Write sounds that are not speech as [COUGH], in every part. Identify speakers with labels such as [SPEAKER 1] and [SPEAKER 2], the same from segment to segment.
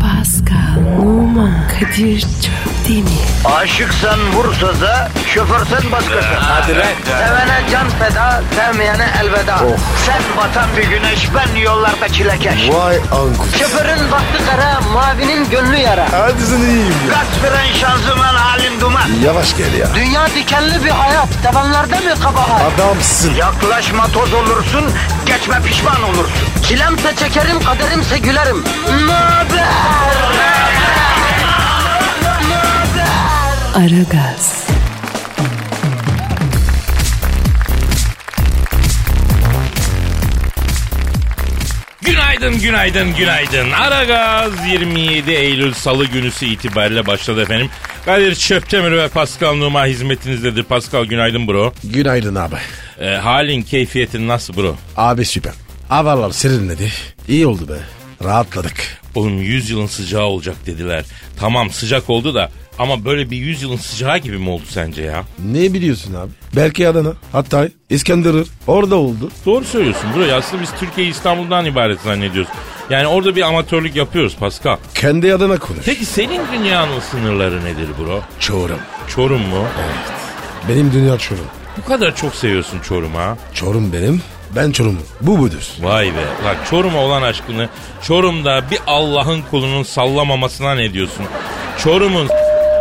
[SPEAKER 1] Pascal, Oman, Kadir çok değil mi?
[SPEAKER 2] Aşıksan vursa da, şoförsen başkasın. Hadi
[SPEAKER 3] lan.
[SPEAKER 2] Sevene can feda, sevmeyene elveda. Sen batan bir güneş, ben yollarda çilekeş.
[SPEAKER 3] Vay anku.
[SPEAKER 2] Şoförün baktı kara, mavinin gönlü yara.
[SPEAKER 3] Hadi sen iyiyim ya.
[SPEAKER 2] Kasperen şanzıman halin duman.
[SPEAKER 3] Yavaş gel ya.
[SPEAKER 2] Dünya dikenli bir hayat, sevenlerde mi kabahar?
[SPEAKER 3] Adamsın.
[SPEAKER 2] Yaklaşma toz olursun, geçme pişman olursun. Çilemse çekerim, kaderimse gülerim. Möber!
[SPEAKER 1] Aragaz,
[SPEAKER 4] Günaydın, günaydın, günaydın. Aragaz 27 Eylül Salı günüsü itibariyle başladı efendim. Kadir Çöptemir ve Pascal Numa hizmetinizdedir. Pascal günaydın bro.
[SPEAKER 3] Günaydın abi.
[SPEAKER 4] Ee, halin, keyfiyetin nasıl bro?
[SPEAKER 3] Abi süper. Havalar serinledi. İyi oldu be. Rahatladık.
[SPEAKER 4] Oğlum 100 yılın sıcağı olacak dediler. Tamam sıcak oldu da ama böyle bir 100 yılın sıcağı gibi mi oldu sence ya?
[SPEAKER 3] Ne biliyorsun abi? Belki Adana, Hatay, İskenderun orada oldu.
[SPEAKER 4] Doğru söylüyorsun bro. Aslında biz Türkiye İstanbul'dan ibaret zannediyoruz. Yani orada bir amatörlük yapıyoruz Pascal.
[SPEAKER 3] Kendi adına konuş.
[SPEAKER 4] Peki senin dünyanın sınırları nedir bro?
[SPEAKER 3] Çorum.
[SPEAKER 4] Çorum mu?
[SPEAKER 3] Benim dünya Çorum.
[SPEAKER 4] Bu kadar çok seviyorsun Çorum'u ha?
[SPEAKER 3] Çorum benim. Ben Çorum'um. Bu budur.
[SPEAKER 4] Vay be. Bak Çorum'a olan aşkını Çorum'da bir Allah'ın kulunun sallamamasına ne diyorsun? Çorum'un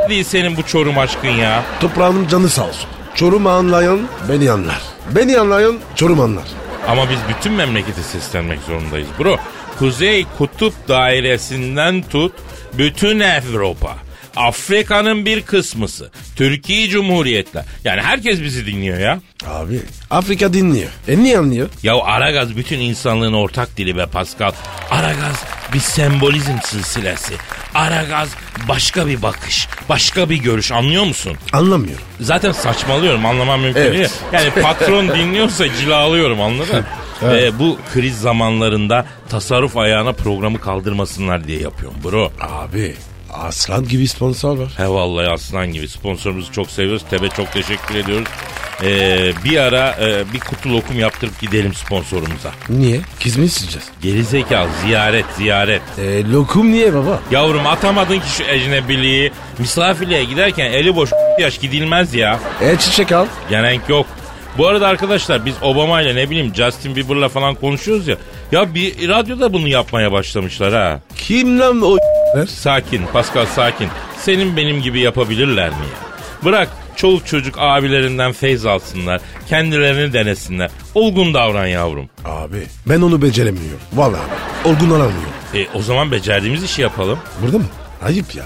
[SPEAKER 4] değil senin bu Çorum aşkın ya.
[SPEAKER 3] Toprağının canı sağ olsun. Çorum anlayan beni anlar. Beni anlayan Çorum anlar.
[SPEAKER 4] Ama biz bütün memlekete seslenmek zorundayız bro. Kuzey Kutup Dairesi'nden tut bütün Avrupa. Afrika'nın bir kısmısı. Türkiye Cumhuriyetler. Yani herkes bizi dinliyor ya.
[SPEAKER 3] Abi Afrika dinliyor. E niye anlıyor?
[SPEAKER 4] Ya Aragaz bütün insanlığın ortak dili be Pascal. Aragaz bir sembolizm silsilesi. Aragaz başka bir bakış, başka bir görüş anlıyor musun?
[SPEAKER 3] Anlamıyorum.
[SPEAKER 4] Zaten saçmalıyorum anlamam mümkün
[SPEAKER 3] Evet.
[SPEAKER 4] değil. Yani patron dinliyorsa cilalıyorum anladın mı? Ee, bu kriz zamanlarında tasarruf ayağına programı kaldırmasınlar diye yapıyorum bro.
[SPEAKER 3] Abi aslan gibi sponsor var.
[SPEAKER 4] He vallahi aslan gibi sponsorumuzu çok seviyoruz. Tebe çok teşekkür ediyoruz. Ee, bir ara e, bir kutu lokum yaptırıp gidelim sponsorumuza.
[SPEAKER 3] Niye? Kiz mi isteyeceğiz?
[SPEAKER 4] Gerizekalı ziyaret ziyaret.
[SPEAKER 3] E, lokum niye baba?
[SPEAKER 4] Yavrum atamadın ki şu ecnebiliği. Misafirliğe giderken eli boş yaş gidilmez ya.
[SPEAKER 3] E çiçek al.
[SPEAKER 4] Genenk yok. Bu arada arkadaşlar biz Obama ile ne bileyim Justin Bieber'la falan konuşuyoruz ya. Ya bir radyoda bunu yapmaya başlamışlar ha.
[SPEAKER 3] Kim lan o
[SPEAKER 4] Sakin Pascal sakin. Senin benim gibi yapabilirler mi ya? Bırak çoluk çocuk abilerinden feyz alsınlar. Kendilerini denesinler. Olgun davran yavrum.
[SPEAKER 3] Abi ben onu beceremiyorum. Vallahi abi. Olgun alamıyorum.
[SPEAKER 4] E, o zaman becerdiğimiz işi yapalım.
[SPEAKER 3] Burada mı? Ayıp ya.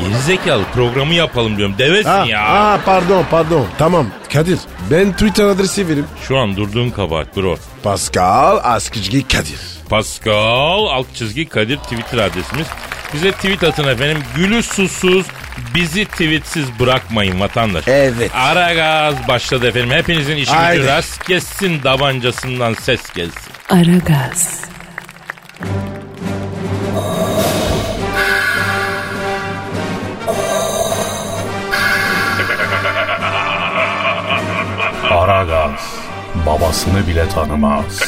[SPEAKER 4] Gerizekalı programı yapalım diyorum. Devesin ya.
[SPEAKER 3] aa, pardon pardon. Tamam Kadir ben Twitter adresi vereyim.
[SPEAKER 4] Şu an durduğun kabahat bro.
[SPEAKER 3] Pascal Askizgi Kadir.
[SPEAKER 4] Pascal alt çizgi Kadir Twitter adresimiz. Bize tweet atın efendim. Gülü susuz bizi tweetsiz bırakmayın vatandaş.
[SPEAKER 3] Evet.
[SPEAKER 4] Ara gaz başladı efendim. Hepinizin işi
[SPEAKER 3] Haydi.
[SPEAKER 4] gücü rast kessin davancasından ses gelsin.
[SPEAKER 1] Aragaz,
[SPEAKER 5] Aragaz babasını bile tanımaz.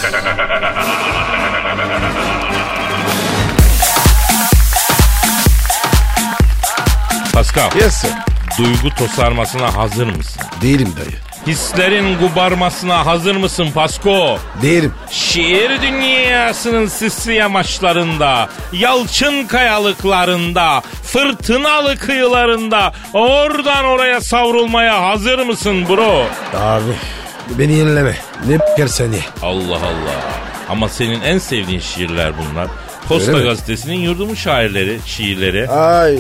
[SPEAKER 4] Pascal
[SPEAKER 3] Yes sir.
[SPEAKER 4] duygu tosarmasına hazır mısın?
[SPEAKER 3] Değilim dayı.
[SPEAKER 4] Hislerin gubarmasına hazır mısın Pasko?
[SPEAKER 3] Değilim.
[SPEAKER 4] Şiir dünyasının sisli yamaçlarında, yalçın kayalıklarında, fırtınalı kıyılarında oradan oraya savrulmaya hazır mısın bro?
[SPEAKER 3] Abi beni yenileme. Ne b**ker seni.
[SPEAKER 4] Allah Allah. Ama senin en sevdiğin şiirler bunlar. Posta
[SPEAKER 3] Öyle mi? Ah.
[SPEAKER 4] gazetesinin yurdumun şairleri, şiirleri.
[SPEAKER 3] Ay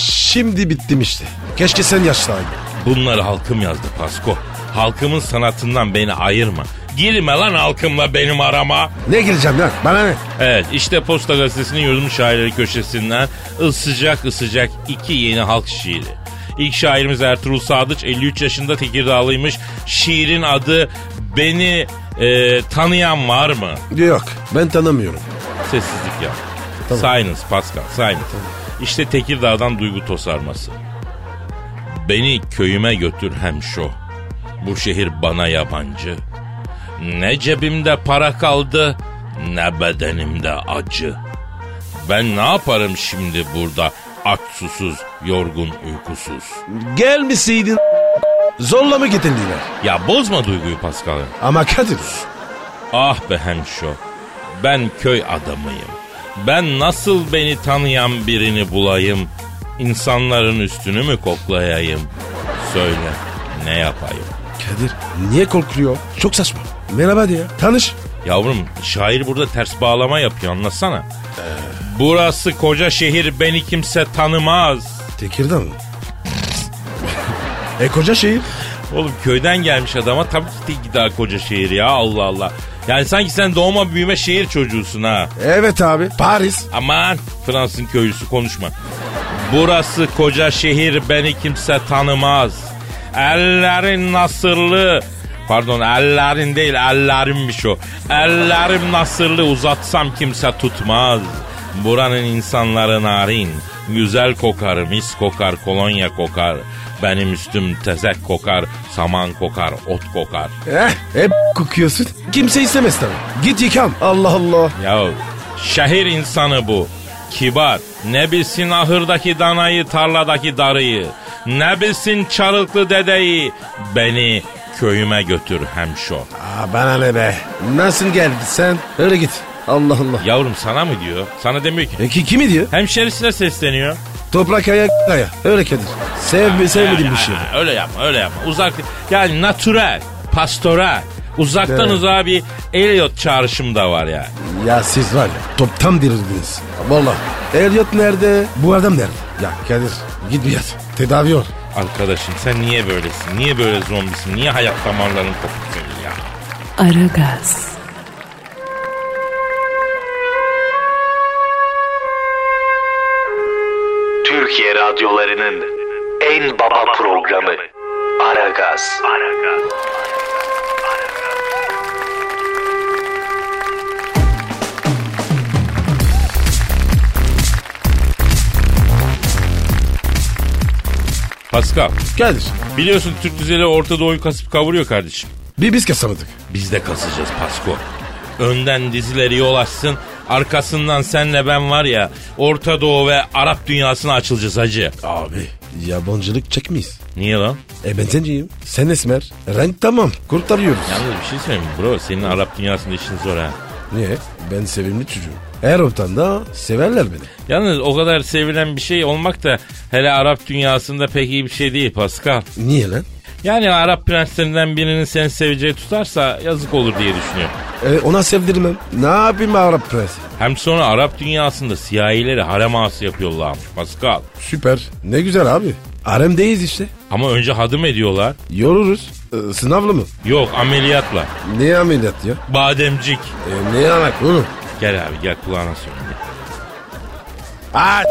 [SPEAKER 3] şimdi bittim işte. Keşke sen yaşlanın.
[SPEAKER 4] Bunları halkım yazdı Pasko. Halkımın sanatından beni ayırma. Girme lan halkımla benim arama.
[SPEAKER 3] Ne gireceğim lan? Bana ne?
[SPEAKER 4] Evet işte Posta Gazetesi'nin yorum şairleri köşesinden ısıcak ısıcak iki yeni halk şiiri. İlk şairimiz Ertuğrul Sadıç 53 yaşında Tekirdağlıymış. Şiirin adı Beni e, Tanıyan Var mı?
[SPEAKER 3] Yok ben tanımıyorum.
[SPEAKER 4] Sessizlik ya. Silence Pascal silence. İşte Tekirdağ'dan duygu tosarması. Beni köyüme götür hem şu. Bu şehir bana yabancı. Ne cebimde para kaldı ne bedenimde acı. Ben ne yaparım şimdi burada aç susuz, yorgun, uykusuz?
[SPEAKER 3] Gelmeseydin zorla mı getirdiler?
[SPEAKER 4] Ya bozma duyguyu Pascal.
[SPEAKER 3] Ama Kadir
[SPEAKER 4] Ah be hemşo. Ben köy adamıyım. Ben nasıl beni tanıyan birini bulayım? İnsanların üstünü mü koklayayım? Söyle ne yapayım?
[SPEAKER 3] Kadir niye korkuyor? Çok saçma. Merhaba diye. Tanış.
[SPEAKER 4] Yavrum şair burada ters bağlama yapıyor anlasana. Burası koca şehir beni kimse tanımaz.
[SPEAKER 3] Tekirdağ mı? [LAUGHS] e koca şehir.
[SPEAKER 4] Oğlum köyden gelmiş adama tabii ki de gider koca şehir ya Allah Allah. Yani sanki sen doğma büyüme şehir çocuğusun ha.
[SPEAKER 3] Evet abi. Paris.
[SPEAKER 4] Aman Fransız'ın köylüsü konuşma. Burası koca şehir beni kimse tanımaz. Ellerin nasırlı Pardon ellerin değil ellerimmiş o. Ellerim nasırlı uzatsam kimse tutmaz. Buranın insanları narin. Güzel kokar, mis kokar, kolonya kokar. Benim üstüm tezek kokar, saman kokar, ot kokar.
[SPEAKER 3] Eh, hep kokuyorsun. Kimse istemez tabii. Git yıkan. Allah Allah.
[SPEAKER 4] Ya şehir insanı bu. Kibar. Ne bilsin ahırdaki danayı, tarladaki darıyı. Ne bilsin çarıklı dedeyi. Beni köyüme götür hemşo.
[SPEAKER 3] Aa, bana ne be? Nasıl geldin sen? Öyle git. Allah Allah.
[SPEAKER 4] Yavrum sana mı diyor? Sana demiyor ki.
[SPEAKER 3] Peki kimi diyor?
[SPEAKER 4] Hemşerisine sesleniyor.
[SPEAKER 3] Toprak ayak ayak. Öyle Kadir. Sevme sevmediğim bir şey.
[SPEAKER 4] Ay, ay, öyle yapma öyle yapma. Uzak yani natürel, pastoral. Uzaktan
[SPEAKER 3] Evet.
[SPEAKER 4] uzağa bir Elliot çağrışım da var yani.
[SPEAKER 3] Ya siz var ya toptan dirirdiniz. Valla. Elliot nerede? Bu adam nerede? Ya Kadir git bir yat. Tedavi ol.
[SPEAKER 4] Arkadaşım sen niye böylesin? Niye böyle zombisin? Niye hayat damarların kopuk senin ya?
[SPEAKER 1] Aragaz,
[SPEAKER 6] Türkiye radyolarının en baba programı Aragaz.
[SPEAKER 4] Pascal.
[SPEAKER 3] Kadir
[SPEAKER 4] Biliyorsun Türk düzeli Orta Doğu'yu kasıp kavuruyor kardeşim.
[SPEAKER 3] bir biz kasamadık.
[SPEAKER 4] Biz de kasacağız Pasko. Önden dizileri yol açsın. Arkasından senle ben var ya Orta Doğu ve Arap dünyasına açılacağız hacı.
[SPEAKER 3] Abi yabancılık çekmeyiz.
[SPEAKER 4] Niye lan?
[SPEAKER 3] E ben zenciyim. Sen esmer. Renk tamam. Kurtarıyoruz.
[SPEAKER 4] Yalnız bir şey söyleyeyim mi bro senin Arap dünyasında işin zor ha.
[SPEAKER 3] Niye? Ben sevimli çocuğum. Her ortamda severler beni.
[SPEAKER 4] Yalnız o kadar sevilen bir şey olmak da hele Arap dünyasında pek iyi bir şey değil Pascal.
[SPEAKER 3] Niye lan?
[SPEAKER 4] Yani Arap prenslerinden birinin seni seveceği tutarsa yazık olur diye düşünüyorum.
[SPEAKER 3] E, ona sevdirmem. Ne yapayım Arap prensi?
[SPEAKER 4] Hem sonra Arap dünyasında siyahileri harem ağası yapıyorlarmış Pascal.
[SPEAKER 3] Süper. Ne güzel abi. Haremdeyiz işte.
[SPEAKER 4] Ama önce hadım ediyorlar.
[SPEAKER 3] Yoruluruz. E, sınavlı mı?
[SPEAKER 4] Yok ameliyatla.
[SPEAKER 3] Ne ameliyat ya?
[SPEAKER 4] Bademcik.
[SPEAKER 3] E, ne yanak oğlum?
[SPEAKER 4] Gel abi gel kulağına söyle.
[SPEAKER 3] Aa,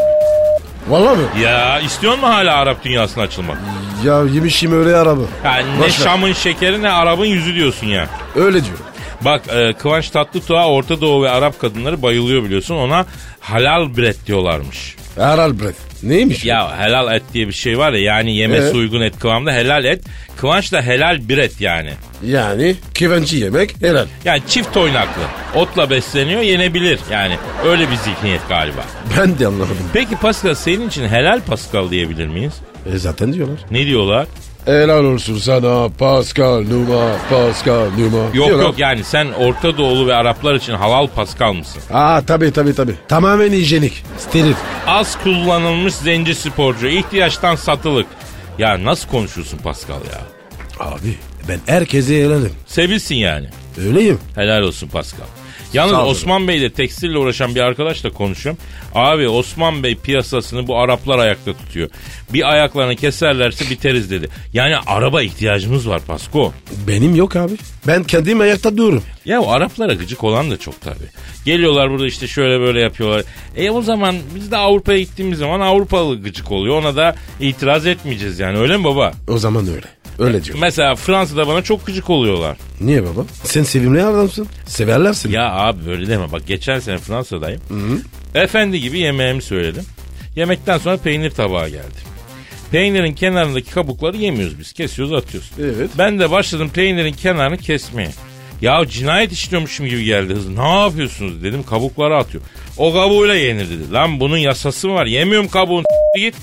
[SPEAKER 3] Vallahi mi?
[SPEAKER 4] Ya istiyor mu hala Arap dünyasına açılmak?
[SPEAKER 3] Ya yemişim öyle araba.
[SPEAKER 4] Ya ne
[SPEAKER 3] Boş ver.
[SPEAKER 4] Şam'ın şekeri ne Arap'ın yüzü diyorsun ya.
[SPEAKER 3] Öyle diyor.
[SPEAKER 4] Bak e, Kıvanç Tatlıtuğ'a Orta Doğu ve Arap kadınları bayılıyor biliyorsun. Ona halal bret diyorlarmış.
[SPEAKER 3] Herhal Brett. Neymiş? o?
[SPEAKER 4] Ya helal et diye bir şey var ya yani yemesi
[SPEAKER 3] Ee?
[SPEAKER 4] uygun et kıvamda helal et. Kıvanç da helal bret yani.
[SPEAKER 3] Yani kevenci yemek helal.
[SPEAKER 4] Yani çift oynaklı. Otla besleniyor yenebilir yani. Öyle bir zihniyet galiba.
[SPEAKER 3] Ben de anlamadım.
[SPEAKER 4] Peki Pascal senin için helal Pascal diyebilir miyiz?
[SPEAKER 3] E zaten diyorlar.
[SPEAKER 4] Ne diyorlar?
[SPEAKER 3] Helal olsun sana Pascal Numa, Pascal Numa.
[SPEAKER 4] Yok yok yani sen Orta Doğulu ve Araplar için halal Pascal mısın?
[SPEAKER 3] Aa tabii tabii tabii. Tamamen hijyenik. Steril.
[SPEAKER 4] Az kullanılmış zenci sporcu, ihtiyaçtan satılık. Ya nasıl konuşuyorsun Pascal ya?
[SPEAKER 3] Abi ben herkese helalim.
[SPEAKER 4] Sevilsin yani.
[SPEAKER 3] Öyleyim.
[SPEAKER 4] Helal olsun Pascal. Yalnız
[SPEAKER 3] Sağ olun.
[SPEAKER 4] Osman Bey'le tekstille uğraşan bir arkadaşla konuşuyorum. Abi Osman Bey piyasasını bu Araplar ayakta tutuyor. Bir ayaklarını keserlerse biteriz dedi. Yani araba ihtiyacımız var Pasko.
[SPEAKER 3] Benim yok abi. Ben kendim ayakta dururum.
[SPEAKER 4] Ya o Araplara gıcık olan da çok tabii. Geliyorlar burada işte şöyle böyle yapıyorlar. E o zaman biz de Avrupa'ya gittiğimiz zaman Avrupalı gıcık oluyor. Ona da itiraz etmeyeceğiz yani öyle mi baba?
[SPEAKER 3] O zaman öyle. Öyle diyor.
[SPEAKER 4] Mesela Fransa'da bana çok gıcık oluyorlar.
[SPEAKER 3] Niye baba? Sen sevimli adamsın. Severler seni.
[SPEAKER 4] Ya abi böyle deme bak geçen sene Fransa'dayım. Efendi gibi yemeğimi söyledim. Yemekten sonra peynir tabağı geldi. Peynirin kenarındaki kabukları yemiyoruz biz. Kesiyoruz atıyoruz.
[SPEAKER 3] Evet.
[SPEAKER 4] Ben de başladım peynirin kenarını kesmeye. Ya cinayet işliyormuşum gibi geldi hız. Ne yapıyorsunuz dedim kabukları atıyor. O kabuğuyla yenir dedi. Lan bunun yasası mı var? Yemiyorum kabuğunu git.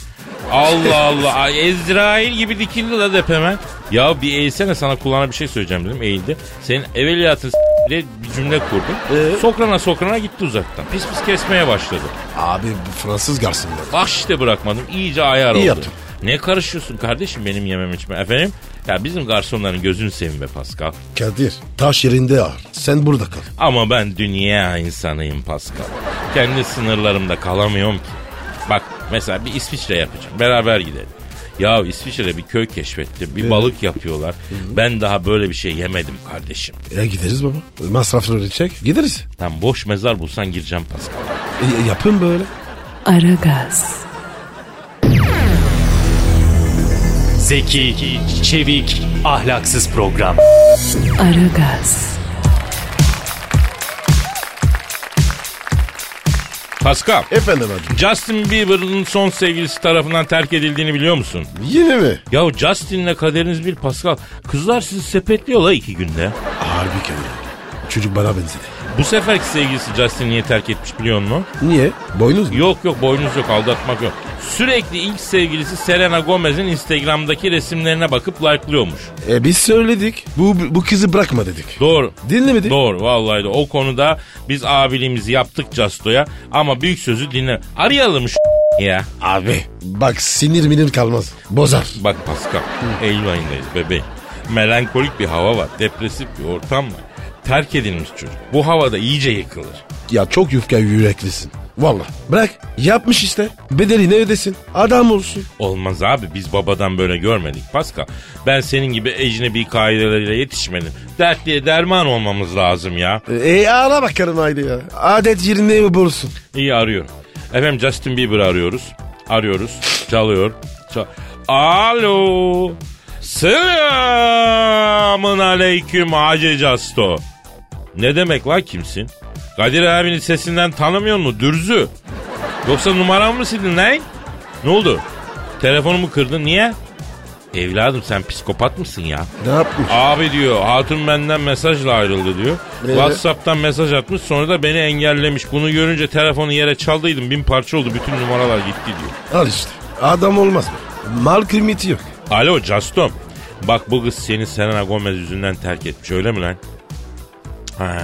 [SPEAKER 4] Allah Allah. Ay, Ezrail gibi dikildi la depeme. Ya bir eğilsene sana kulağına bir şey söyleyeceğim dedim. Eğildi. Senin evveliyatın s- diye bir cümle kurdum. Sokrana sokrana gitti uzaktan. Pis pis kesmeye başladı.
[SPEAKER 3] Abi bu Fransız garsonları.
[SPEAKER 4] Bak işte bırakmadım. İyice ayar
[SPEAKER 3] İyi
[SPEAKER 4] oldu.
[SPEAKER 3] yaptın.
[SPEAKER 4] Ne karışıyorsun kardeşim benim yemem içme. Efendim? Ya bizim garsonların gözünü seveyim be Pascal.
[SPEAKER 3] Kadir taş yerinde ağır. Sen burada kal.
[SPEAKER 4] Ama ben dünya insanıyım Pascal. Kendi sınırlarımda kalamıyorum ki. Bak mesela bir İsviçre yapacağım. Beraber gidelim. Ya İsviçre'de bir köy keşfettim. Bir balık yapıyorlar. Ben daha böyle bir şey yemedim kardeşim.
[SPEAKER 3] E gideriz baba. Masrafları çek. Gideriz.
[SPEAKER 4] Tam boş mezar bulsan gireceğim Pascal.
[SPEAKER 3] E, yapın böyle.
[SPEAKER 1] Aragaz,
[SPEAKER 7] Zeki, çevik, ahlaksız program.
[SPEAKER 1] Aragaz,
[SPEAKER 4] Pascal.
[SPEAKER 3] Efendim hacım.
[SPEAKER 4] Justin Bieber'ın son sevgilisi tarafından terk edildiğini biliyor musun?
[SPEAKER 3] Yine mi?
[SPEAKER 4] Ya Justin'le kaderiniz bir Pascal. Kızlar sizi sepetliyor la iki günde.
[SPEAKER 3] Harbi Kadir. Çocuk bana benzedi.
[SPEAKER 4] Bu seferki sevgilisi Justin niye terk etmiş biliyor musun?
[SPEAKER 3] Niye? Boynuz mu?
[SPEAKER 4] Yok yok boynuz yok aldatmak yok. Sürekli ilk sevgilisi Selena Gomez'in Instagram'daki resimlerine bakıp like'lıyormuş.
[SPEAKER 3] E biz söyledik. Bu bu kızı bırakma dedik.
[SPEAKER 4] Doğru.
[SPEAKER 3] Dinlemedi.
[SPEAKER 4] Doğru vallahi de o konuda biz abiliğimizi yaptık Casto'ya ama büyük sözü dinle. Arayalım şu ya.
[SPEAKER 3] Abi. E, Bak sinir minir kalmaz. Bozar.
[SPEAKER 4] Bak Pascal Eylül ayındayız bebeğim. Melankolik bir hava var. Depresif bir ortam var. Terk edilmiş çocuk. Bu havada iyice yıkılır.
[SPEAKER 3] Ya çok yufka yüreklisin. Valla. Bırak. Yapmış işte. Bedelini ödesin. Adam olsun.
[SPEAKER 4] Olmaz abi biz babadan böyle görmedik Pascal. Ben senin gibi ecnebi kaideleriyle yetişmedim. Dertliye derman olmamız lazım ya.
[SPEAKER 3] E, E ara bakarım haydi ya. Adet yerinde mi bulursun?
[SPEAKER 4] İyi arıyorum. Efendim Justin Bieber'ı arıyoruz. Arıyoruz. Çalıyor. Çal- Alo. Selamın aleyküm Hacı Casto. Ne demek la kimsin? Kadir abinin sesinden tanımıyor mu dürzü? Yoksa numaramı mı sildin lan? Ne oldu? Telefonumu kırdın niye? Evladım sen psikopat mısın ya?
[SPEAKER 3] Ne yapmış?
[SPEAKER 4] Abi diyor hatun benden mesajla ayrıldı diyor.
[SPEAKER 3] Ee?
[SPEAKER 4] Whatsapp'tan mesaj atmış sonra da beni engellemiş. Bunu görünce telefonu yere çaldıydım bin parça oldu bütün numaralar gitti diyor.
[SPEAKER 3] Al işte. Adam olmaz mı? Mal kıymeti yok.
[SPEAKER 4] Alo Justom bak bu kız seni Selena Gomez yüzünden terk etmiş öyle mi lan? Ha.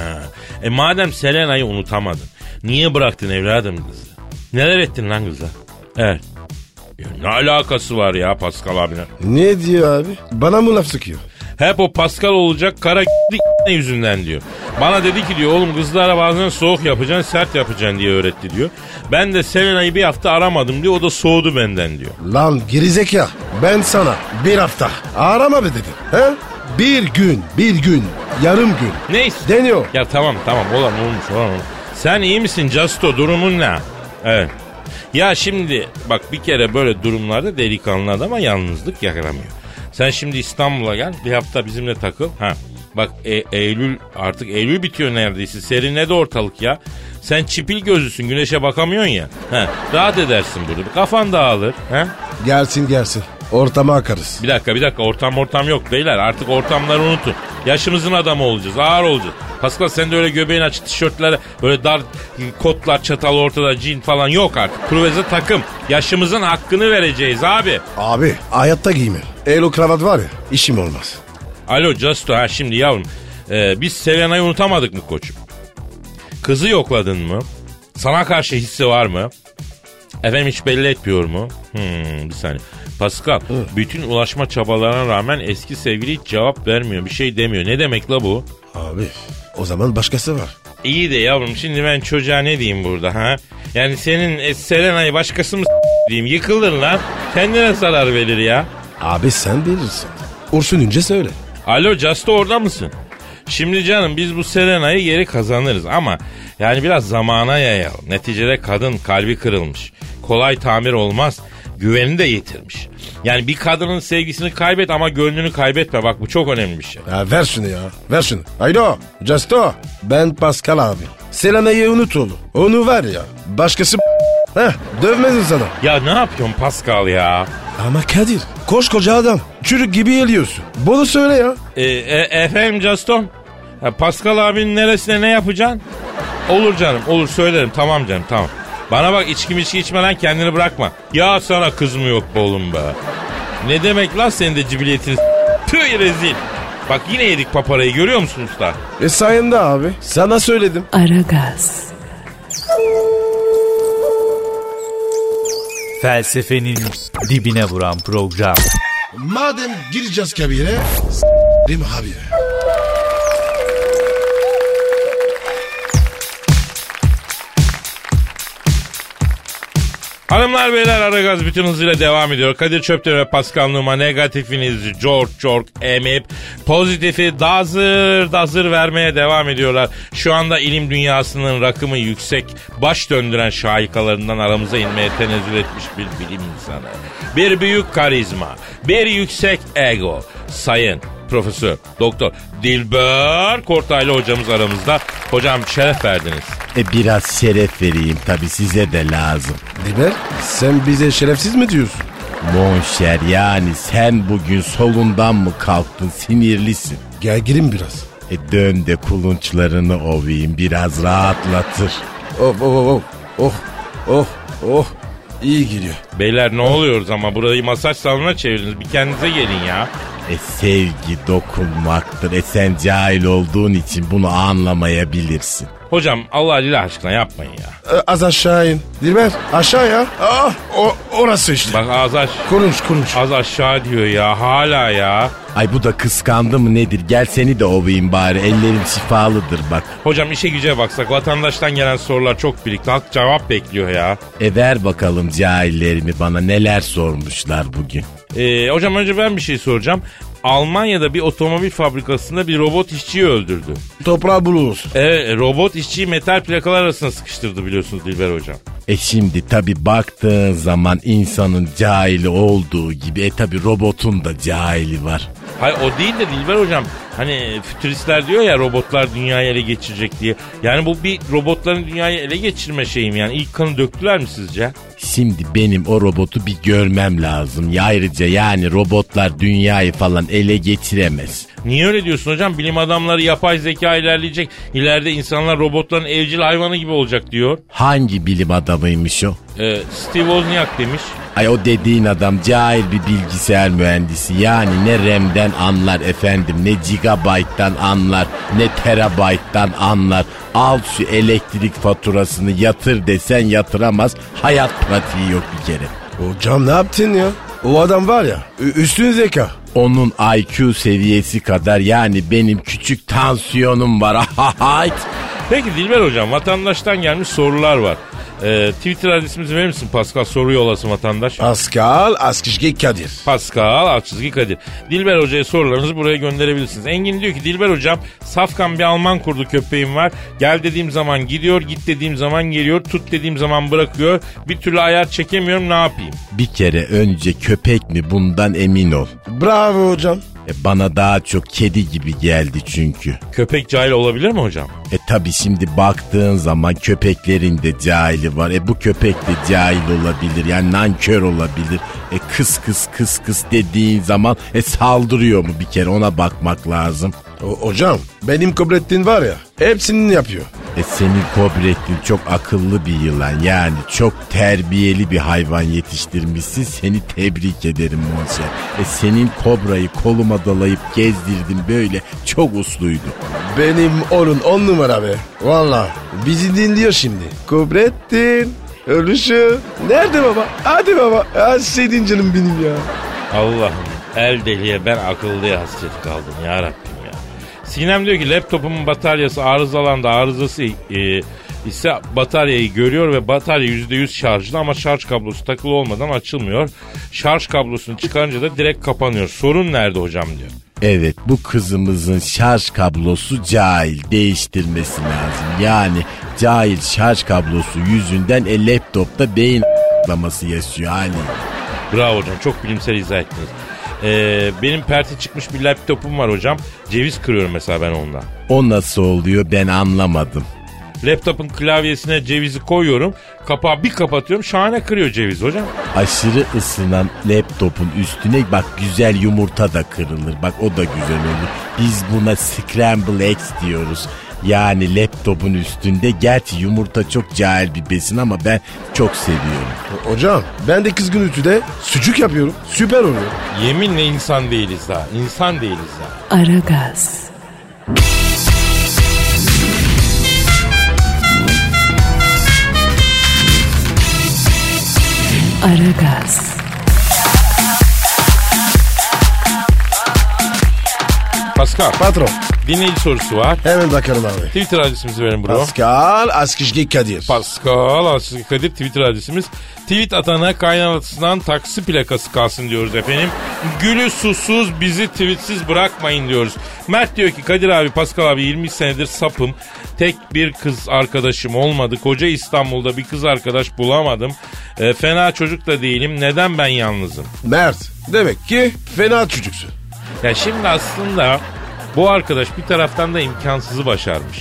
[SPEAKER 4] E madem Selena'yı unutamadın niye bıraktın evladım kızı? Neler ettin lan kıza? Evet. Ya ne alakası var ya Pascal abine?
[SPEAKER 3] Ne diyor abi? Bana mı laf sıkıyor?
[SPEAKER 4] Hep o Pascal olacak kara [LAUGHS] k***li yüzünden diyor. Bana dedi ki diyor oğlum kızlara bazen soğuk yapacaksın sert yapacaksın diye öğretti diyor. Ben de Selena'yı bir hafta aramadım diyor o da soğudu benden diyor.
[SPEAKER 3] Lan gerizeka. Ben sana bir hafta arama be dedim. He? Bir gün, bir gün, yarım gün.
[SPEAKER 4] Neyse.
[SPEAKER 3] Deniyor.
[SPEAKER 4] Ya tamam tamam olan olmuş olan olmuş. Sen iyi misin Casto durumun ne? Evet. Ya şimdi bak bir kere böyle durumlarda delikanlı adama yalnızlık yaramıyor. Sen şimdi İstanbul'a gel bir hafta bizimle takıl. Ha. Bak E- Eylül artık Eylül bitiyor neredeyse. Serinledi ortalık ya. Sen çipil gözlüsün güneşe bakamıyorsun ya. Ha, rahat edersin burada. Kafan dağılır. Ha?
[SPEAKER 3] Gelsin gelsin. Ortama akarız.
[SPEAKER 4] Bir dakika bir dakika ortam ortam yok beyler artık ortamları unutun. Yaşımızın adamı olacağız ağır olacağız. Pascal sen de öyle göbeğin açık tişörtlere böyle dar e, kotlar çatal ortada jean falan yok artık. Kruveze takım yaşımızın hakkını vereceğiz abi.
[SPEAKER 3] Abi hayatta giyme. Elo kravat var ya işim olmaz.
[SPEAKER 4] Alo Justo ha şimdi yavrum e, biz Selena'yı unutamadık mı koçum? Kızı yokladın mı? Sana karşı hissi var mı? Efendim hiç belli etmiyor mu? Hmm, bir saniye. Pascal, bütün ulaşma çabalarına rağmen eski sevgili hiç cevap vermiyor. Bir şey demiyor. Ne demek la bu?
[SPEAKER 3] Abi o zaman başkası var.
[SPEAKER 4] İyi de yavrum şimdi ben çocuğa ne diyeyim burada ha? Yani senin e, Selena'yı başkası mı s- diyeyim? Yıkılır lan. Kendine zarar verir ya.
[SPEAKER 3] Abi sen bilirsin. Ursun Ünce söyle.
[SPEAKER 4] Alo Justo orada mısın? Şimdi canım biz bu Selena'yı geri kazanırız ama yani biraz zamana yayalım. Neticede kadın kalbi kırılmış. Kolay tamir olmaz. Güvenini de yitirmiş. Yani bir kadının sevgisini kaybet ama gönlünü kaybetme. Bak bu çok önemli bir şey.
[SPEAKER 3] Ya ver şunu ya ver şunu. Haydo Justo. Ben Pascal abi. Selena'yı unut oğlum. Onu var ya başkası [LAUGHS] Heh, dövmezim sana.
[SPEAKER 4] Ya ne yapıyorsun Pascal ya?
[SPEAKER 3] Ama Kadir koskoca adam. Çürük gibi geliyorsun. Bunu söyle ya.
[SPEAKER 4] E, e, efendim Juston? Ha, Pascal abinin neresine ne yapacaksın? Olur canım olur söylerim tamam canım tamam. Bana bak içki içki içme lan kendini bırakma. Ya sana kız mı yok be oğlum be. Ne demek lan senin de cibiliyetin Tüy rezil. Bak yine yedik paparayı görüyor musun usta?
[SPEAKER 3] E sayende abi. Sana söyledim.
[SPEAKER 1] Aragaz,
[SPEAKER 7] Felsefenin dibine vuran program.
[SPEAKER 3] Madem gireceğiz kabire. Değil mi abi?
[SPEAKER 4] Hanımlar beyler Aragaz bütün hızıyla devam ediyor. Kadir Çöpten ve Pascal Numa negatifinizi cork cork emip pozitifi dazır dazır vermeye devam ediyorlar. Şu anda ilim dünyasının rakımı yüksek baş döndüren şahikalarından aramıza inmeye tenezzül etmiş bir bilim insanı. Bir büyük karizma, bir yüksek ego. Sayın Profesör, Doktor Dilber Kortaylı hocamız aramızda. Hocam şeref verdiniz.
[SPEAKER 8] E biraz şeref vereyim tabi size de lazım.
[SPEAKER 3] Dilber sen bize şerefsiz mi diyorsun?
[SPEAKER 8] Monşer yani sen bugün solundan mı kalktın sinirlisin?
[SPEAKER 3] Gel girin biraz.
[SPEAKER 8] E dön de kulunçlarını ovayım biraz rahatlatır.
[SPEAKER 3] Oh oh oh oh oh oh iyi giriyor.
[SPEAKER 4] Beyler ne oluyoruz ama burayı masaj salonuna çevirdiniz. Bir kendinize gelin ya.
[SPEAKER 8] E sevgi dokunmaktır. E sen cahil olduğun için bunu anlamayabilirsin.
[SPEAKER 4] Hocam Allah lillah aşkına yapmayın ya.
[SPEAKER 3] E, Az aşağı in. Dilber aşağıya. Ah o, orası işte.
[SPEAKER 4] Bak az aş
[SPEAKER 3] Konuş konuş.
[SPEAKER 4] az aşağı diyor ya hala ya.
[SPEAKER 8] Ay bu da kıskandı mı nedir? Gel seni de ovayım bari. Ellerim şifalıdır bak.
[SPEAKER 4] Hocam işe güce baksak vatandaştan gelen sorular çok birikti. Halk cevap bekliyor ya.
[SPEAKER 8] E ver bakalım cahillerimi bana neler sormuşlar bugün.
[SPEAKER 4] Ee, hocam önce ben bir şey soracağım. Almanya'da bir otomobil fabrikasında bir robot işçiyi öldürdü.
[SPEAKER 3] Toprağı buluruz.
[SPEAKER 4] Evet robot işçiyi metal plakalar arasına sıkıştırdı biliyorsunuz Dilber hocam.
[SPEAKER 8] E şimdi tabi baktığın zaman insanın cahili olduğu gibi e tabi robotun da cahili var.
[SPEAKER 4] Hayır o değil de Dilber hocam hani fütüristler diyor ya robotlar dünyayı ele geçirecek diye. Yani bu bir robotların dünyayı ele geçirme şeyim yani. İlk kanı döktüler mi sizce?
[SPEAKER 8] Şimdi benim o robotu bir görmem lazım. Ya ayrıca yani robotlar dünyayı falan ele geçiremez.
[SPEAKER 4] Niye öyle diyorsun hocam? Bilim adamları yapay zeka ilerleyecek. İleride insanlar robotların evcil hayvanı gibi olacak diyor.
[SPEAKER 8] Hangi bilim adamıymış o?
[SPEAKER 4] Ee, Steve Wozniak demiş.
[SPEAKER 8] Ay o dediğin adam cahil bir bilgisayar mühendisi. Yani ne RAM'den anlar efendim, ne gigabayttan anlar, ne terabayttan anlar. Al şu elektrik faturasını yatır desen yatıramaz. Hayat pratiği yok bir kere.
[SPEAKER 3] Hocam ne yaptın ya? O adam var ya ü- üstün zeka.
[SPEAKER 8] Onun IQ seviyesi kadar yani benim küçük tansiyonum var. [LAUGHS] Ahahay.
[SPEAKER 4] Peki Dilber hocam vatandaştan gelmiş sorular var. Ee, Twitter adresimizi verir misin Pascal? Soru yolasın vatandaş.
[SPEAKER 3] Pascal Askışki Kadir.
[SPEAKER 4] Pascal Alçızgi Kadir. Dilber Hoca'ya sorularınızı buraya gönderebilirsiniz. Engin diyor ki Dilber Hocam safkan bir Alman kurdu köpeğim var. Gel dediğim zaman gidiyor, git dediğim zaman geliyor, tut dediğim zaman bırakıyor. Bir türlü ayar çekemiyorum ne yapayım?
[SPEAKER 8] bir kere önce köpek mi bundan emin ol.
[SPEAKER 3] Bravo hocam.
[SPEAKER 8] E bana daha çok kedi gibi geldi çünkü.
[SPEAKER 4] Köpek cahil olabilir mi hocam?
[SPEAKER 8] E tabi şimdi baktığın zaman köpeklerin de cahili var. E bu köpek de cahil olabilir. Yani nankör olabilir. E kıs kıs kıs kıs dediğin zaman e saldırıyor mu bir kere ona bakmak lazım.
[SPEAKER 3] O- hocam benim Kobrettin var ya hepsini yapıyor.
[SPEAKER 8] E senin Kobrettin çok akıllı bir yılan. Yani çok terbiyeli bir hayvan yetiştirmişsin. Seni tebrik ederim Monser. E senin kobrayı koluma dalayıp gezdirdim böyle çok usluydu.
[SPEAKER 3] Benim oğlum on numara be. Valla bizi dinliyor şimdi. Kobrettin. Ölüşü. Nerede baba? Hadi baba. Hadi senin canım benim ya.
[SPEAKER 4] Allah'ım el deliye ben akıllıya hasret kaldım ya Rabbim ya. Sinem diyor ki laptopumun bataryası arızalandı. Arızası e, ise bataryayı görüyor ve batarya %100 şarjlı ama şarj kablosu takılı olmadan açılmıyor. Şarj kablosunu çıkarınca da direkt kapanıyor. Sorun nerede hocam diyor.
[SPEAKER 8] Evet bu kızımızın şarj kablosu cahil değiştirmesi lazım. Yani cahil şarj kablosu yüzünden e laptopta beyin a**laması yaşıyor hali.
[SPEAKER 4] Bravo hocam çok bilimsel izah ettiniz. E, benim perti çıkmış bir laptopum var hocam. Ceviz kırıyorum mesela ben onunla.
[SPEAKER 8] O nasıl oluyor ben anlamadım.
[SPEAKER 4] Laptopun klavyesine cevizi koyuyorum. Kapağı bir kapatıyorum şahane kırıyor ceviz hocam.
[SPEAKER 8] Aşırı ısınan laptopun üstüne bak güzel yumurta da kırılır. Bak o da güzel olur. Biz buna scramble eggs diyoruz. Yani laptopun üstünde. Gerçi yumurta çok cahil bir besin ama ben çok seviyorum.
[SPEAKER 3] Hocam ben de kızgın ütüde sucuk yapıyorum. Süper oluyor.
[SPEAKER 4] Yeminle insan değiliz daha. İnsan değiliz daha.
[SPEAKER 1] Aragaz, Aragaz,
[SPEAKER 4] Pascal
[SPEAKER 3] Patron
[SPEAKER 4] dinleyici sorusu var.
[SPEAKER 3] hemen bakalım abi.
[SPEAKER 4] Twitter adresimizi verin bro.
[SPEAKER 3] Pascal Askışki Kadir.
[SPEAKER 4] Pascal Askizgi Kadir Twitter adresimiz. Tweet atana kaynanasından taksi plakası kalsın diyoruz efendim. Gülü susuz bizi tweetsiz bırakmayın diyoruz. Mert diyor ki Kadir abi Pascal abi 20 senedir sapım. Tek bir kız arkadaşım olmadı. Koca İstanbul'da bir kız arkadaş bulamadım. E, fena çocuk da değilim. Neden ben yalnızım?
[SPEAKER 3] Mert demek ki fena çocuksun.
[SPEAKER 4] Ya şimdi aslında bu arkadaş bir taraftan da imkansızı başarmış.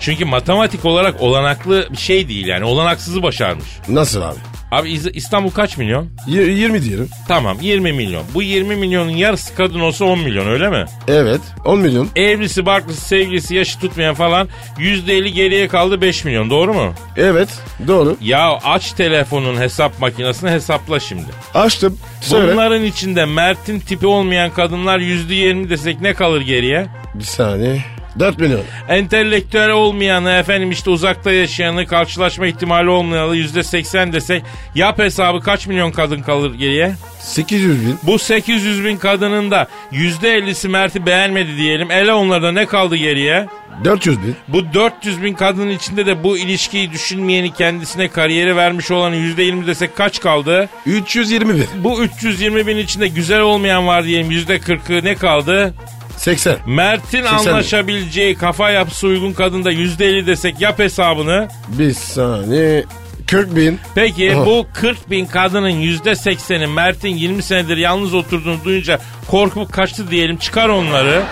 [SPEAKER 4] Çünkü matematik olarak olanaklı bir şey değil yani olanaksızı başarmış.
[SPEAKER 3] Nasıl abi?
[SPEAKER 4] Abi İz- İstanbul kaç milyon?
[SPEAKER 3] Y- 20 diyelim.
[SPEAKER 4] Tamam 20 milyon. Bu 20 milyonun yarısı kadın olsa 10 milyon öyle mi?
[SPEAKER 3] Evet 10 milyon.
[SPEAKER 4] Evlisi, barklısı, sevgilisi, yaşı tutmayan falan %50 geriye kaldı 5 milyon doğru mu?
[SPEAKER 3] Evet doğru.
[SPEAKER 4] Ya aç telefonun hesap makinesini hesapla şimdi.
[SPEAKER 3] Açtım. Söyle.
[SPEAKER 4] Bunların içinde Mert'in tipi olmayan kadınlar %20 desek ne kalır geriye?
[SPEAKER 3] Bir saniye. 4 milyon.
[SPEAKER 4] Entelektüel olmayanı efendim işte uzakta yaşayanı karşılaşma ihtimali olmayanı yüzde seksen desek yap hesabı kaç milyon kadın kalır geriye?
[SPEAKER 3] 800 bin.
[SPEAKER 4] Bu 800 bin kadının da yüzde 50'si Mert'i beğenmedi diyelim. Ele onlarda ne kaldı geriye?
[SPEAKER 3] 400 bin.
[SPEAKER 4] Bu 400 bin kadının içinde de bu ilişkiyi düşünmeyeni kendisine kariyeri vermiş olanı yüzde 20 desek kaç kaldı?
[SPEAKER 3] 320 bin.
[SPEAKER 4] Bu 320 bin içinde güzel olmayan var diyelim yüzde 40'ı ne kaldı?
[SPEAKER 3] 80.
[SPEAKER 4] Mert'in anlaşabileceği kafa yapısı uygun kadında yüzde 50 desek yap hesabını.
[SPEAKER 3] Bir saniye. 40 bin.
[SPEAKER 4] Peki
[SPEAKER 3] Aha.
[SPEAKER 4] bu 40 bin kadının yüzde 80'i Mert'in 20 senedir yalnız oturduğunu duyunca korkup kaçtı diyelim çıkar onları.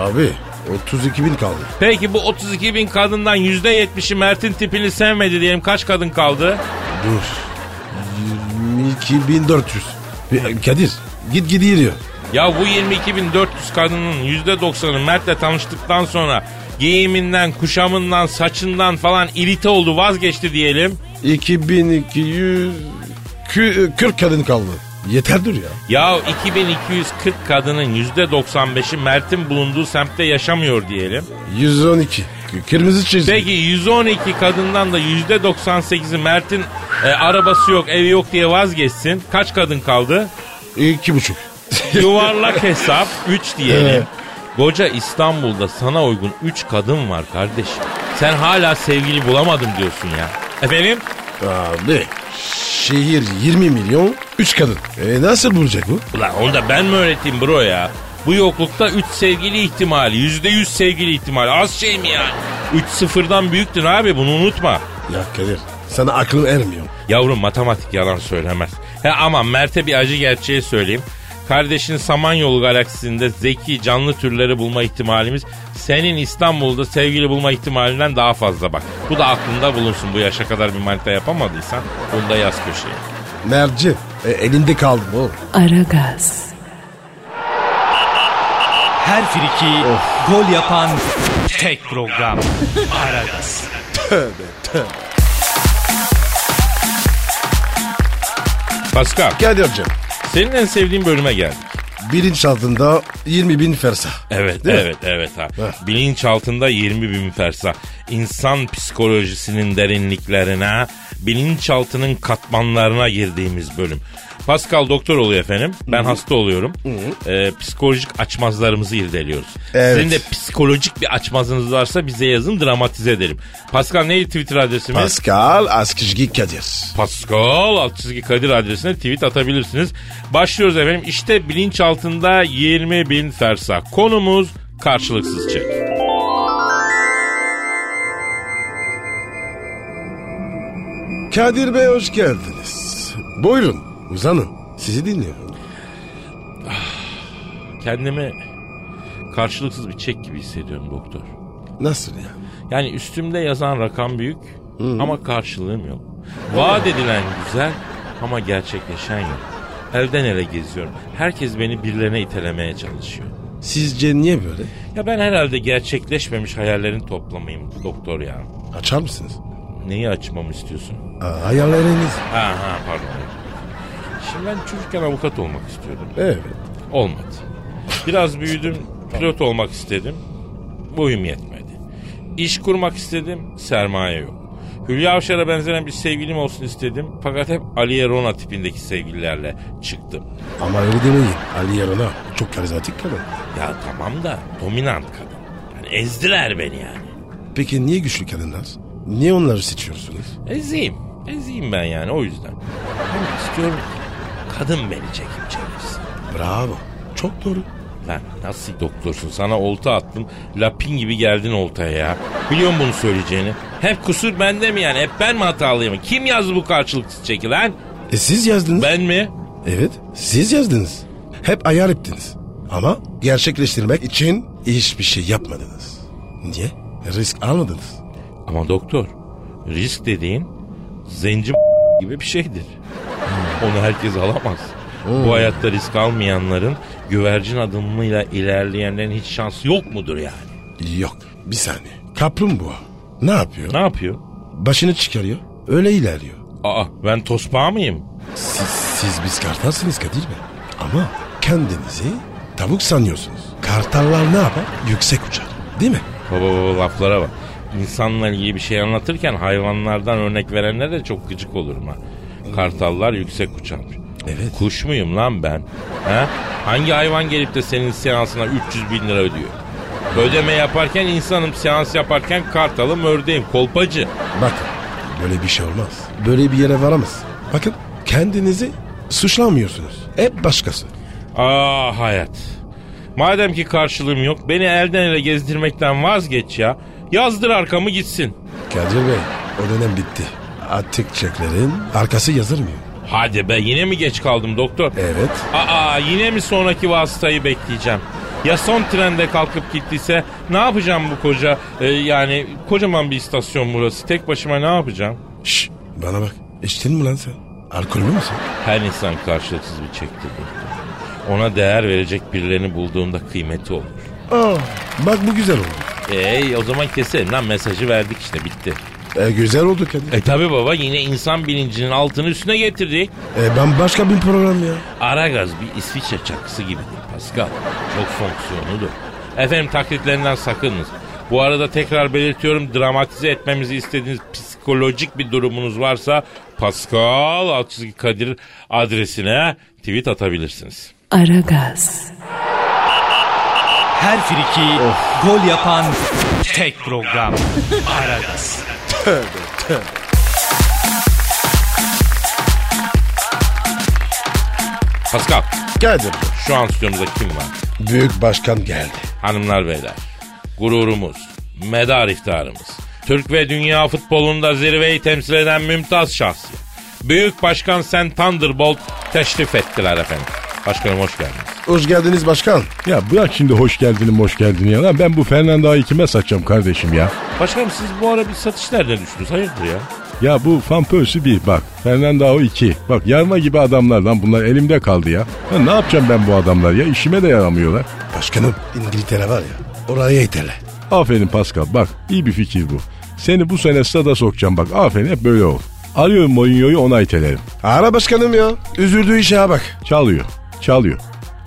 [SPEAKER 3] Abi 32 bin kaldı.
[SPEAKER 4] Peki bu 32 bin kadından yüzde 70'i Mert'in tipini sevmedi diyelim kaç kadın kaldı?
[SPEAKER 3] Dur. 22 bin 400. Bir- Kadir git gidiyor.
[SPEAKER 4] Ya bu 22.400 kadının yüzde 90'ı Mert'le tanıştıktan sonra giyiminden, kuşamından, saçından falan irite oldu vazgeçti diyelim.
[SPEAKER 3] 2200 kü- 40 kadın kaldı. Yeter dur ya.
[SPEAKER 4] Ya 2240 kadının yüzde 95'i Mert'in bulunduğu semtte yaşamıyor diyelim.
[SPEAKER 3] 112. K- Kırmızı çizgi.
[SPEAKER 4] Peki 112 kadından da %98'i Mert'in e, arabası yok, evi yok diye vazgeçsin. Kaç kadın kaldı?
[SPEAKER 3] İki buçuk.
[SPEAKER 4] Yuvarlak hesap 3
[SPEAKER 3] Evet.
[SPEAKER 4] diyelim. Koca İstanbul'da sana uygun 3 kadın var kardeşim. Sen hala sevgili bulamadım diyorsun ya. Efendim?
[SPEAKER 3] Abi şehir 20 milyon 3 kadın. E nasıl bulacak bu?
[SPEAKER 4] Ulan onu da ben mi öğreteyim bro ya? Bu yoklukta 3 sevgili ihtimali, %100 sevgili ihtimali az şey mi yani? 3 sıfırdan büyüktün abi bunu unutma.
[SPEAKER 3] Ya Kadir sana aklım ermiyor.
[SPEAKER 4] Yavrum matematik yalan söylemez. He ama Mert'e bir acı gerçeği söyleyeyim. Kardeşin Samanyolu galaksisinde zeki canlı türleri bulma ihtimalimiz senin İstanbul'da sevgili bulma ihtimalinden daha fazla bak. Bu da aklında bulunsun bu yaşa kadar bir manita yapamadıysan bunu da yaz köşeye.
[SPEAKER 3] Merci e, elinde kaldım oğlum.
[SPEAKER 1] Aragaz,
[SPEAKER 7] Her friki gol yapan tek program. Aragaz.
[SPEAKER 4] Pascal
[SPEAKER 3] Kadir'cim
[SPEAKER 4] senin en sevdiğin bölüme geldik.
[SPEAKER 3] bilinçaltında 20 bin fersa.
[SPEAKER 4] Evet,
[SPEAKER 3] Değil mi?
[SPEAKER 4] evet, evet ha.
[SPEAKER 3] Heh.
[SPEAKER 4] Bilinç altında 20 bin fersa. İnsan psikolojisinin derinliklerine, bilinçaltının katmanlarına girdiğimiz bölüm. Pascal doktor oluyor efendim. Ben hasta oluyorum. Ee, psikolojik açmazlarımızı irdeliyoruz.
[SPEAKER 3] Evet.
[SPEAKER 4] Sizin de psikolojik bir açmazınız varsa bize yazın dramatize edelim. Pascal neydi Twitter adresimiz?
[SPEAKER 3] Pascal Askışgi Kadir.
[SPEAKER 4] Pascal alt çizgi Kadir adresine tweet atabilirsiniz. Başlıyoruz efendim. İşte bilinç altında 20 bin fersa. Konumuz karşılıksız çek.
[SPEAKER 3] Kadir Bey hoş geldiniz. Buyurun uzanın. Sizi dinliyorum.
[SPEAKER 4] Kendimi karşılıksız bir çek gibi hissediyorum doktor.
[SPEAKER 3] Nasıl ya?
[SPEAKER 4] Yani üstümde yazan rakam büyük ama karşılığım yok. Vaat edilen güzel ama gerçekleşen yok. Elden ele geziyorum. Herkes beni birilerine itelemeye çalışıyor.
[SPEAKER 3] Sizce niye böyle?
[SPEAKER 4] Ya ben herhalde gerçekleşmemiş hayallerin toplamıyım doktor ya.
[SPEAKER 3] Açar mısınız?
[SPEAKER 4] Neyi açmamı istiyorsun?
[SPEAKER 3] Aa, hayalleriniz.
[SPEAKER 4] Ha ha pardon. Şimdi ben çocukken avukat olmak istiyordum.
[SPEAKER 3] Evet.
[SPEAKER 4] Olmadı. Biraz büyüdüm, pilot olmak istedim. Boyum yetmedi. İş kurmak istedim, sermaye yok. Hülya Avşar'a benzeyen bir sevgilim olsun istedim. Fakat hep Aliye Rona tipindeki sevgililerle çıktım.
[SPEAKER 3] Ama öyle demeyin. Ali Yarona çok karizmatik kadın.
[SPEAKER 4] Ya tamam da dominant kadın. Yani ezdiler beni yani.
[SPEAKER 3] Peki niye güçlü kadınlar? Niye onları seçiyorsunuz?
[SPEAKER 4] Ezeyim. Ezeyim ben yani o yüzden. Ama istiyorum ki kadın beni çekip çevirsin.
[SPEAKER 3] Bravo. Çok doğru.
[SPEAKER 4] Lan nasıl doktorsun? Sana olta attım. Lapin gibi geldin oltaya ya. Biliyor musun bunu söyleyeceğini? Hep kusur bende mi yani? Hep ben mi hatalıyım? Kim yazdı bu karşılıksız çeki lan?
[SPEAKER 3] E siz yazdınız.
[SPEAKER 4] Ben mi?
[SPEAKER 3] Evet siz yazdınız. Hep ayar ettiniz. Ama gerçekleştirmek için hiçbir şey yapmadınız. Niye? Risk almadınız.
[SPEAKER 4] Ama doktor risk dediğin zenci [LAUGHS] gibi bir şeydir. Onu herkes alamaz. Bu hayatta risk almayanların güvercin adımıyla ilerleyenlerin hiç şansı yok mudur yani?
[SPEAKER 3] Yok bir saniye. Kaplumbağa ne yapıyor?
[SPEAKER 4] Ne yapıyor?
[SPEAKER 3] Başını çıkarıyor. Öyle ilerliyor.
[SPEAKER 4] Aa ben tosbağa mıyım?
[SPEAKER 3] Siz, siz biz kartalsınız Kadir Bey. Ama kendinizi tavuk sanıyorsunuz. Kartallar ne yapar? Yüksek uçar. Değil mi?
[SPEAKER 4] Baba baba laflara bak. İnsanla ilgili bir şey anlatırken hayvanlardan örnek verenlere de çok gıcık olurum ha. Kartallar yüksek uçarmış.
[SPEAKER 3] Evet.
[SPEAKER 4] Kuş muyum lan ben? Ha? Hangi hayvan gelip de senin seansına 300 bin lira ödüyor? Ödeme yaparken insanım, seans yaparken kartalım, ördeğim, kolpacı.
[SPEAKER 3] Bak böyle bir şey olmaz. Böyle bir yere varamaz. Bakın kendinizi suçlamıyorsunuz. Hep başkası.
[SPEAKER 4] Aa Ah, hayat. Madem ki karşılığım yok, beni elden ele gezdirmekten vazgeç ya. Yazdır arkamı gitsin.
[SPEAKER 3] Kadir Bey o dönem bitti. Artık çeklerin arkası yazılmıyor.
[SPEAKER 4] Hadi be yine mi geç kaldım doktor?
[SPEAKER 3] Evet.
[SPEAKER 4] Aa yine mi sonraki vasıtayı bekleyeceğim? Ya son trende kalkıp gittiyse ne yapacağım bu koca e, yani kocaman bir istasyon burası. Tek başıma ne yapacağım?
[SPEAKER 3] Şş bana bak. İçtin mi lan sen? Alkollü müsün?
[SPEAKER 4] Her insan karşılıksız bir çektir doktor. Ona değer verecek birilerini bulduğumda kıymeti olur.
[SPEAKER 3] Aa, bak bu güzel oldu.
[SPEAKER 4] Ey o zaman keselim lan mesajı verdik işte bitti.
[SPEAKER 3] E, güzel oldu Kadir.
[SPEAKER 4] E tabi baba yine insan bilincinin altını üstüne getirdik.
[SPEAKER 3] E, ben başka bir program ya.
[SPEAKER 4] Aragaz bir İsviçre çakısı gibidir Pascal. Çok fonksiyonudur. Efendim taklitlerinden sakınız. Bu arada tekrar belirtiyorum dramatize etmemizi istediğiniz psikolojik bir durumunuz varsa Pascal alt çizgi Kadir adresine tweet atabilirsiniz.
[SPEAKER 1] Aragaz.
[SPEAKER 7] Her friki gol yapan tek program. Aragaz.
[SPEAKER 4] Pascal
[SPEAKER 3] Kadir
[SPEAKER 4] şu an stüdyomuzda kim var?
[SPEAKER 3] Büyük başkan geldi.
[SPEAKER 4] Hanımlar beyler gururumuz, medar iftarımız, Türk ve dünya futbolunda zirveyi temsil eden mümtaz şahsiyet. Büyük Başkan Sen Thunderbolt teşrif ettiler efendim. Başkanım hoş geldiniz.
[SPEAKER 3] Hoş geldiniz başkan.
[SPEAKER 9] Ya bırak şimdi hoş geldin hoş geldin ya. Lan ben bu Fernando'yu kime satacağım kardeşim ya?
[SPEAKER 4] Başkanım siz bu ara bir satış nereden düştünüz? Hayırdır ya?
[SPEAKER 9] Ya bu Fampös'ü bir bak. Fernando iki. Bak yarma gibi adamlar lan bunlar elimde kaldı ya. ya. Ne yapacağım ben bu adamlar ya? İşime de yaramıyorlar.
[SPEAKER 3] Başkanım İngiltere var ya oraya iterle.
[SPEAKER 9] Aferin Pascal bak iyi bir fikir bu. Seni bu sene stada sokacağım bak aferin hep böyle ol. Arıyorum Mourinho'yu ona itelerim.
[SPEAKER 3] Ara başkanım ya. Üzüldüğü işe bak.
[SPEAKER 9] Çalıyor. Çalıyor.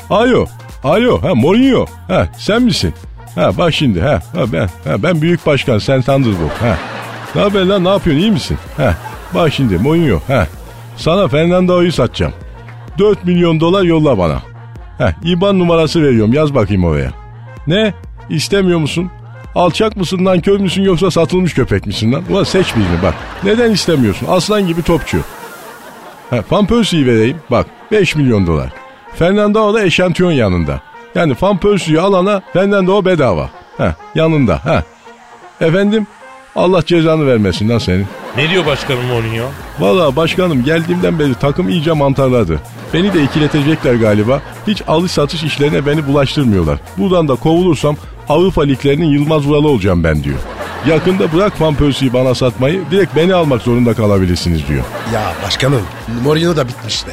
[SPEAKER 9] Alo. Alo. Ha Mourinho. Ha sen misin? Ha bak şimdi. Ha, ha ben. Ha ben büyük başkan. Sen Thunderbolt. Ha. Ne haber lan? Ne yapıyorsun? iyi misin? Ha. Bak şimdi Mourinho. Ha. Sana Fernando'yu satacağım. 4 milyon dolar yolla bana. Ha IBAN numarası veriyorum. Yaz bakayım oraya. Ne? İstemiyor musun? Alçak mısın lan kör müsün yoksa satılmış köpek misin lan? Ulan seç birini bak. Neden istemiyorsun? Aslan gibi topçu. Ha, Van Persie'yi vereyim. Bak 5 milyon dolar. Fernando da eşantiyon yanında. Yani Van Persie'yi alana Fernando bedava. Ha, yanında. Ha. Efendim Allah cezanı vermesin lan senin.
[SPEAKER 4] Ne diyor başkanım Mourinho?
[SPEAKER 9] Valla başkanım geldiğimden beri takım iyice mantarladı. Beni de ikiletecekler galiba. Hiç alış satış işlerine beni bulaştırmıyorlar. Buradan da kovulursam Avrupa liglerinin Yılmaz Vuralı olacağım ben diyor. Yakında bırak Pampers'i bana satmayı direkt beni almak zorunda kalabilirsiniz diyor.
[SPEAKER 3] Ya başkanım Mourinho da bitmiş be.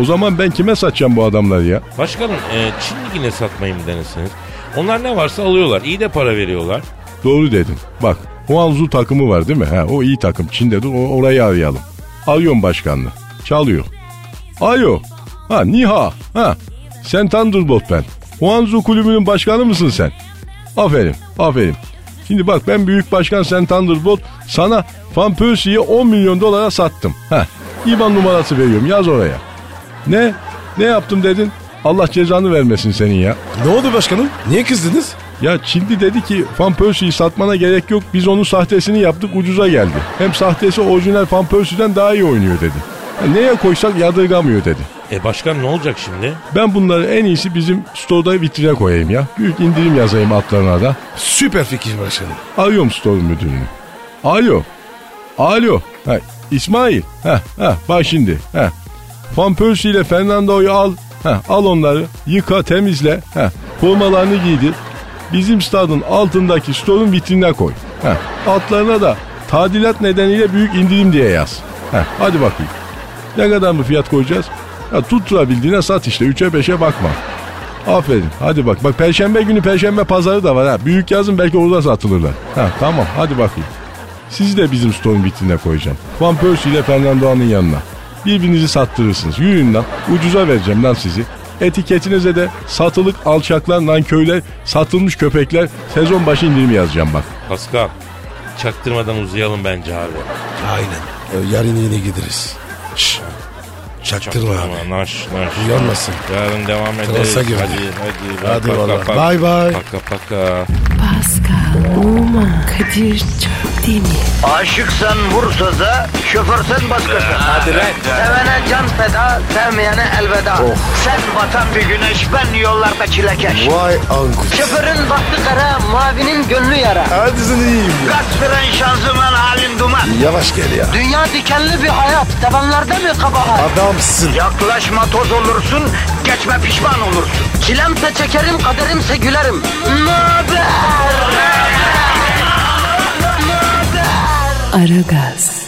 [SPEAKER 9] O zaman ben kime satacağım bu adamları ya?
[SPEAKER 4] Başkanım e, Çin ligine satmayı mı denesiniz? Onlar ne varsa alıyorlar. İyi de para veriyorlar.
[SPEAKER 9] Doğru dedin. Bak Huanzu takımı var değil mi? Ha, o iyi takım. Çin'de dur o, orayı arayalım. Arıyorum başkanlığı. Çalıyor. Ayo. Ha Niha. Ha. Sen Thunderbolt ben. Huanzu kulübünün başkanı mısın sen? Aferin. Aferin. Şimdi bak ben büyük başkan sen Thunderbolt sana Van Persie'yi 10 milyon dolara sattım. Ha. İban numarası veriyorum yaz oraya. Ne? Ne yaptım dedin? Allah cezanı vermesin senin ya.
[SPEAKER 3] Ne oldu başkanım? Niye kızdınız?
[SPEAKER 9] Ya Çinli dedi ki Van Persie'yi satmana gerek yok biz onun sahtesini yaptık ucuza geldi. Hem sahtesi orijinal Van Persie'den daha iyi oynuyor dedi. Ya neye koysak yadırgamıyor dedi.
[SPEAKER 4] E başkan ne olacak şimdi?
[SPEAKER 9] Ben bunları en iyisi bizim store'da vitrine koyayım ya. Büyük indirim yazayım atlarına da.
[SPEAKER 3] Süper fikir başkanım.
[SPEAKER 9] Arıyorum store müdürünü. Alo. Alo. Ha, İsmail. Ha, ha, bak şimdi. Ha. Van Persie ile Fernando'yu al. Ha, al onları. Yıka, temizle. Ha, formalarını giydir. Bizim stadın altındaki store'un vitrinine koy. Ha, altlarına da tadilat nedeniyle büyük indirim diye yaz. Ha, hadi bakayım. Ne kadar mı fiyat koyacağız? Ya tutturabildiğine sat işte. Üçe beşe bakma. Aferin. Hadi bak. Bak perşembe günü perşembe pazarı da var ha. Büyük yazın belki orada satılırlar. Ha tamam hadi bakayım. Sizi de bizim stoğun vitrine koyacağım. Van Persie ile Fernando'nun yanına. Birbirinizi sattırırsınız. Yürüyün lan. Ucuza vereceğim lan sizi. Etiketinize de satılık alçaklar, nanköyler, satılmış köpekler sezon başı indirimi yazacağım bak.
[SPEAKER 4] Pascal çaktırmadan uzayalım bence abi.
[SPEAKER 3] Aynen. Ee, Yarın yine gideriz. Şşş. Çaktırma abi.
[SPEAKER 4] Ama naş naş.
[SPEAKER 3] Uyanmasın.
[SPEAKER 4] Yarın devam ederiz.
[SPEAKER 3] Transa girdi.
[SPEAKER 4] Hadi hadi.
[SPEAKER 3] Hadi
[SPEAKER 4] Paka,
[SPEAKER 3] vallahi.
[SPEAKER 4] paka.
[SPEAKER 3] Bye bye.
[SPEAKER 4] Paka paka.
[SPEAKER 1] Pascal, Oman, Kadir çok değil mi?
[SPEAKER 2] Aşıksan vursa da, şoförsen başkasın. Hadi Sevene can feda, sevmeyene elveda.
[SPEAKER 3] Oh.
[SPEAKER 2] Sen batan bir güneş, ben yollarda çilekeş.
[SPEAKER 3] Vay anku.
[SPEAKER 2] Şoförün baktı kara, mavinin gönlü yara.
[SPEAKER 3] Hadi sen iyiyim ya.
[SPEAKER 2] Kasperen şanzıman halin duman.
[SPEAKER 3] Yavaş gel ya.
[SPEAKER 2] Dünya dikenli bir hayat, sevenlerde mi kabahar?
[SPEAKER 3] Adamsın.
[SPEAKER 2] Yaklaşma toz olursun, geçme pişman olursun. Çilemse çekerim, kaderimse gülerim. Möber!
[SPEAKER 1] Aragaz.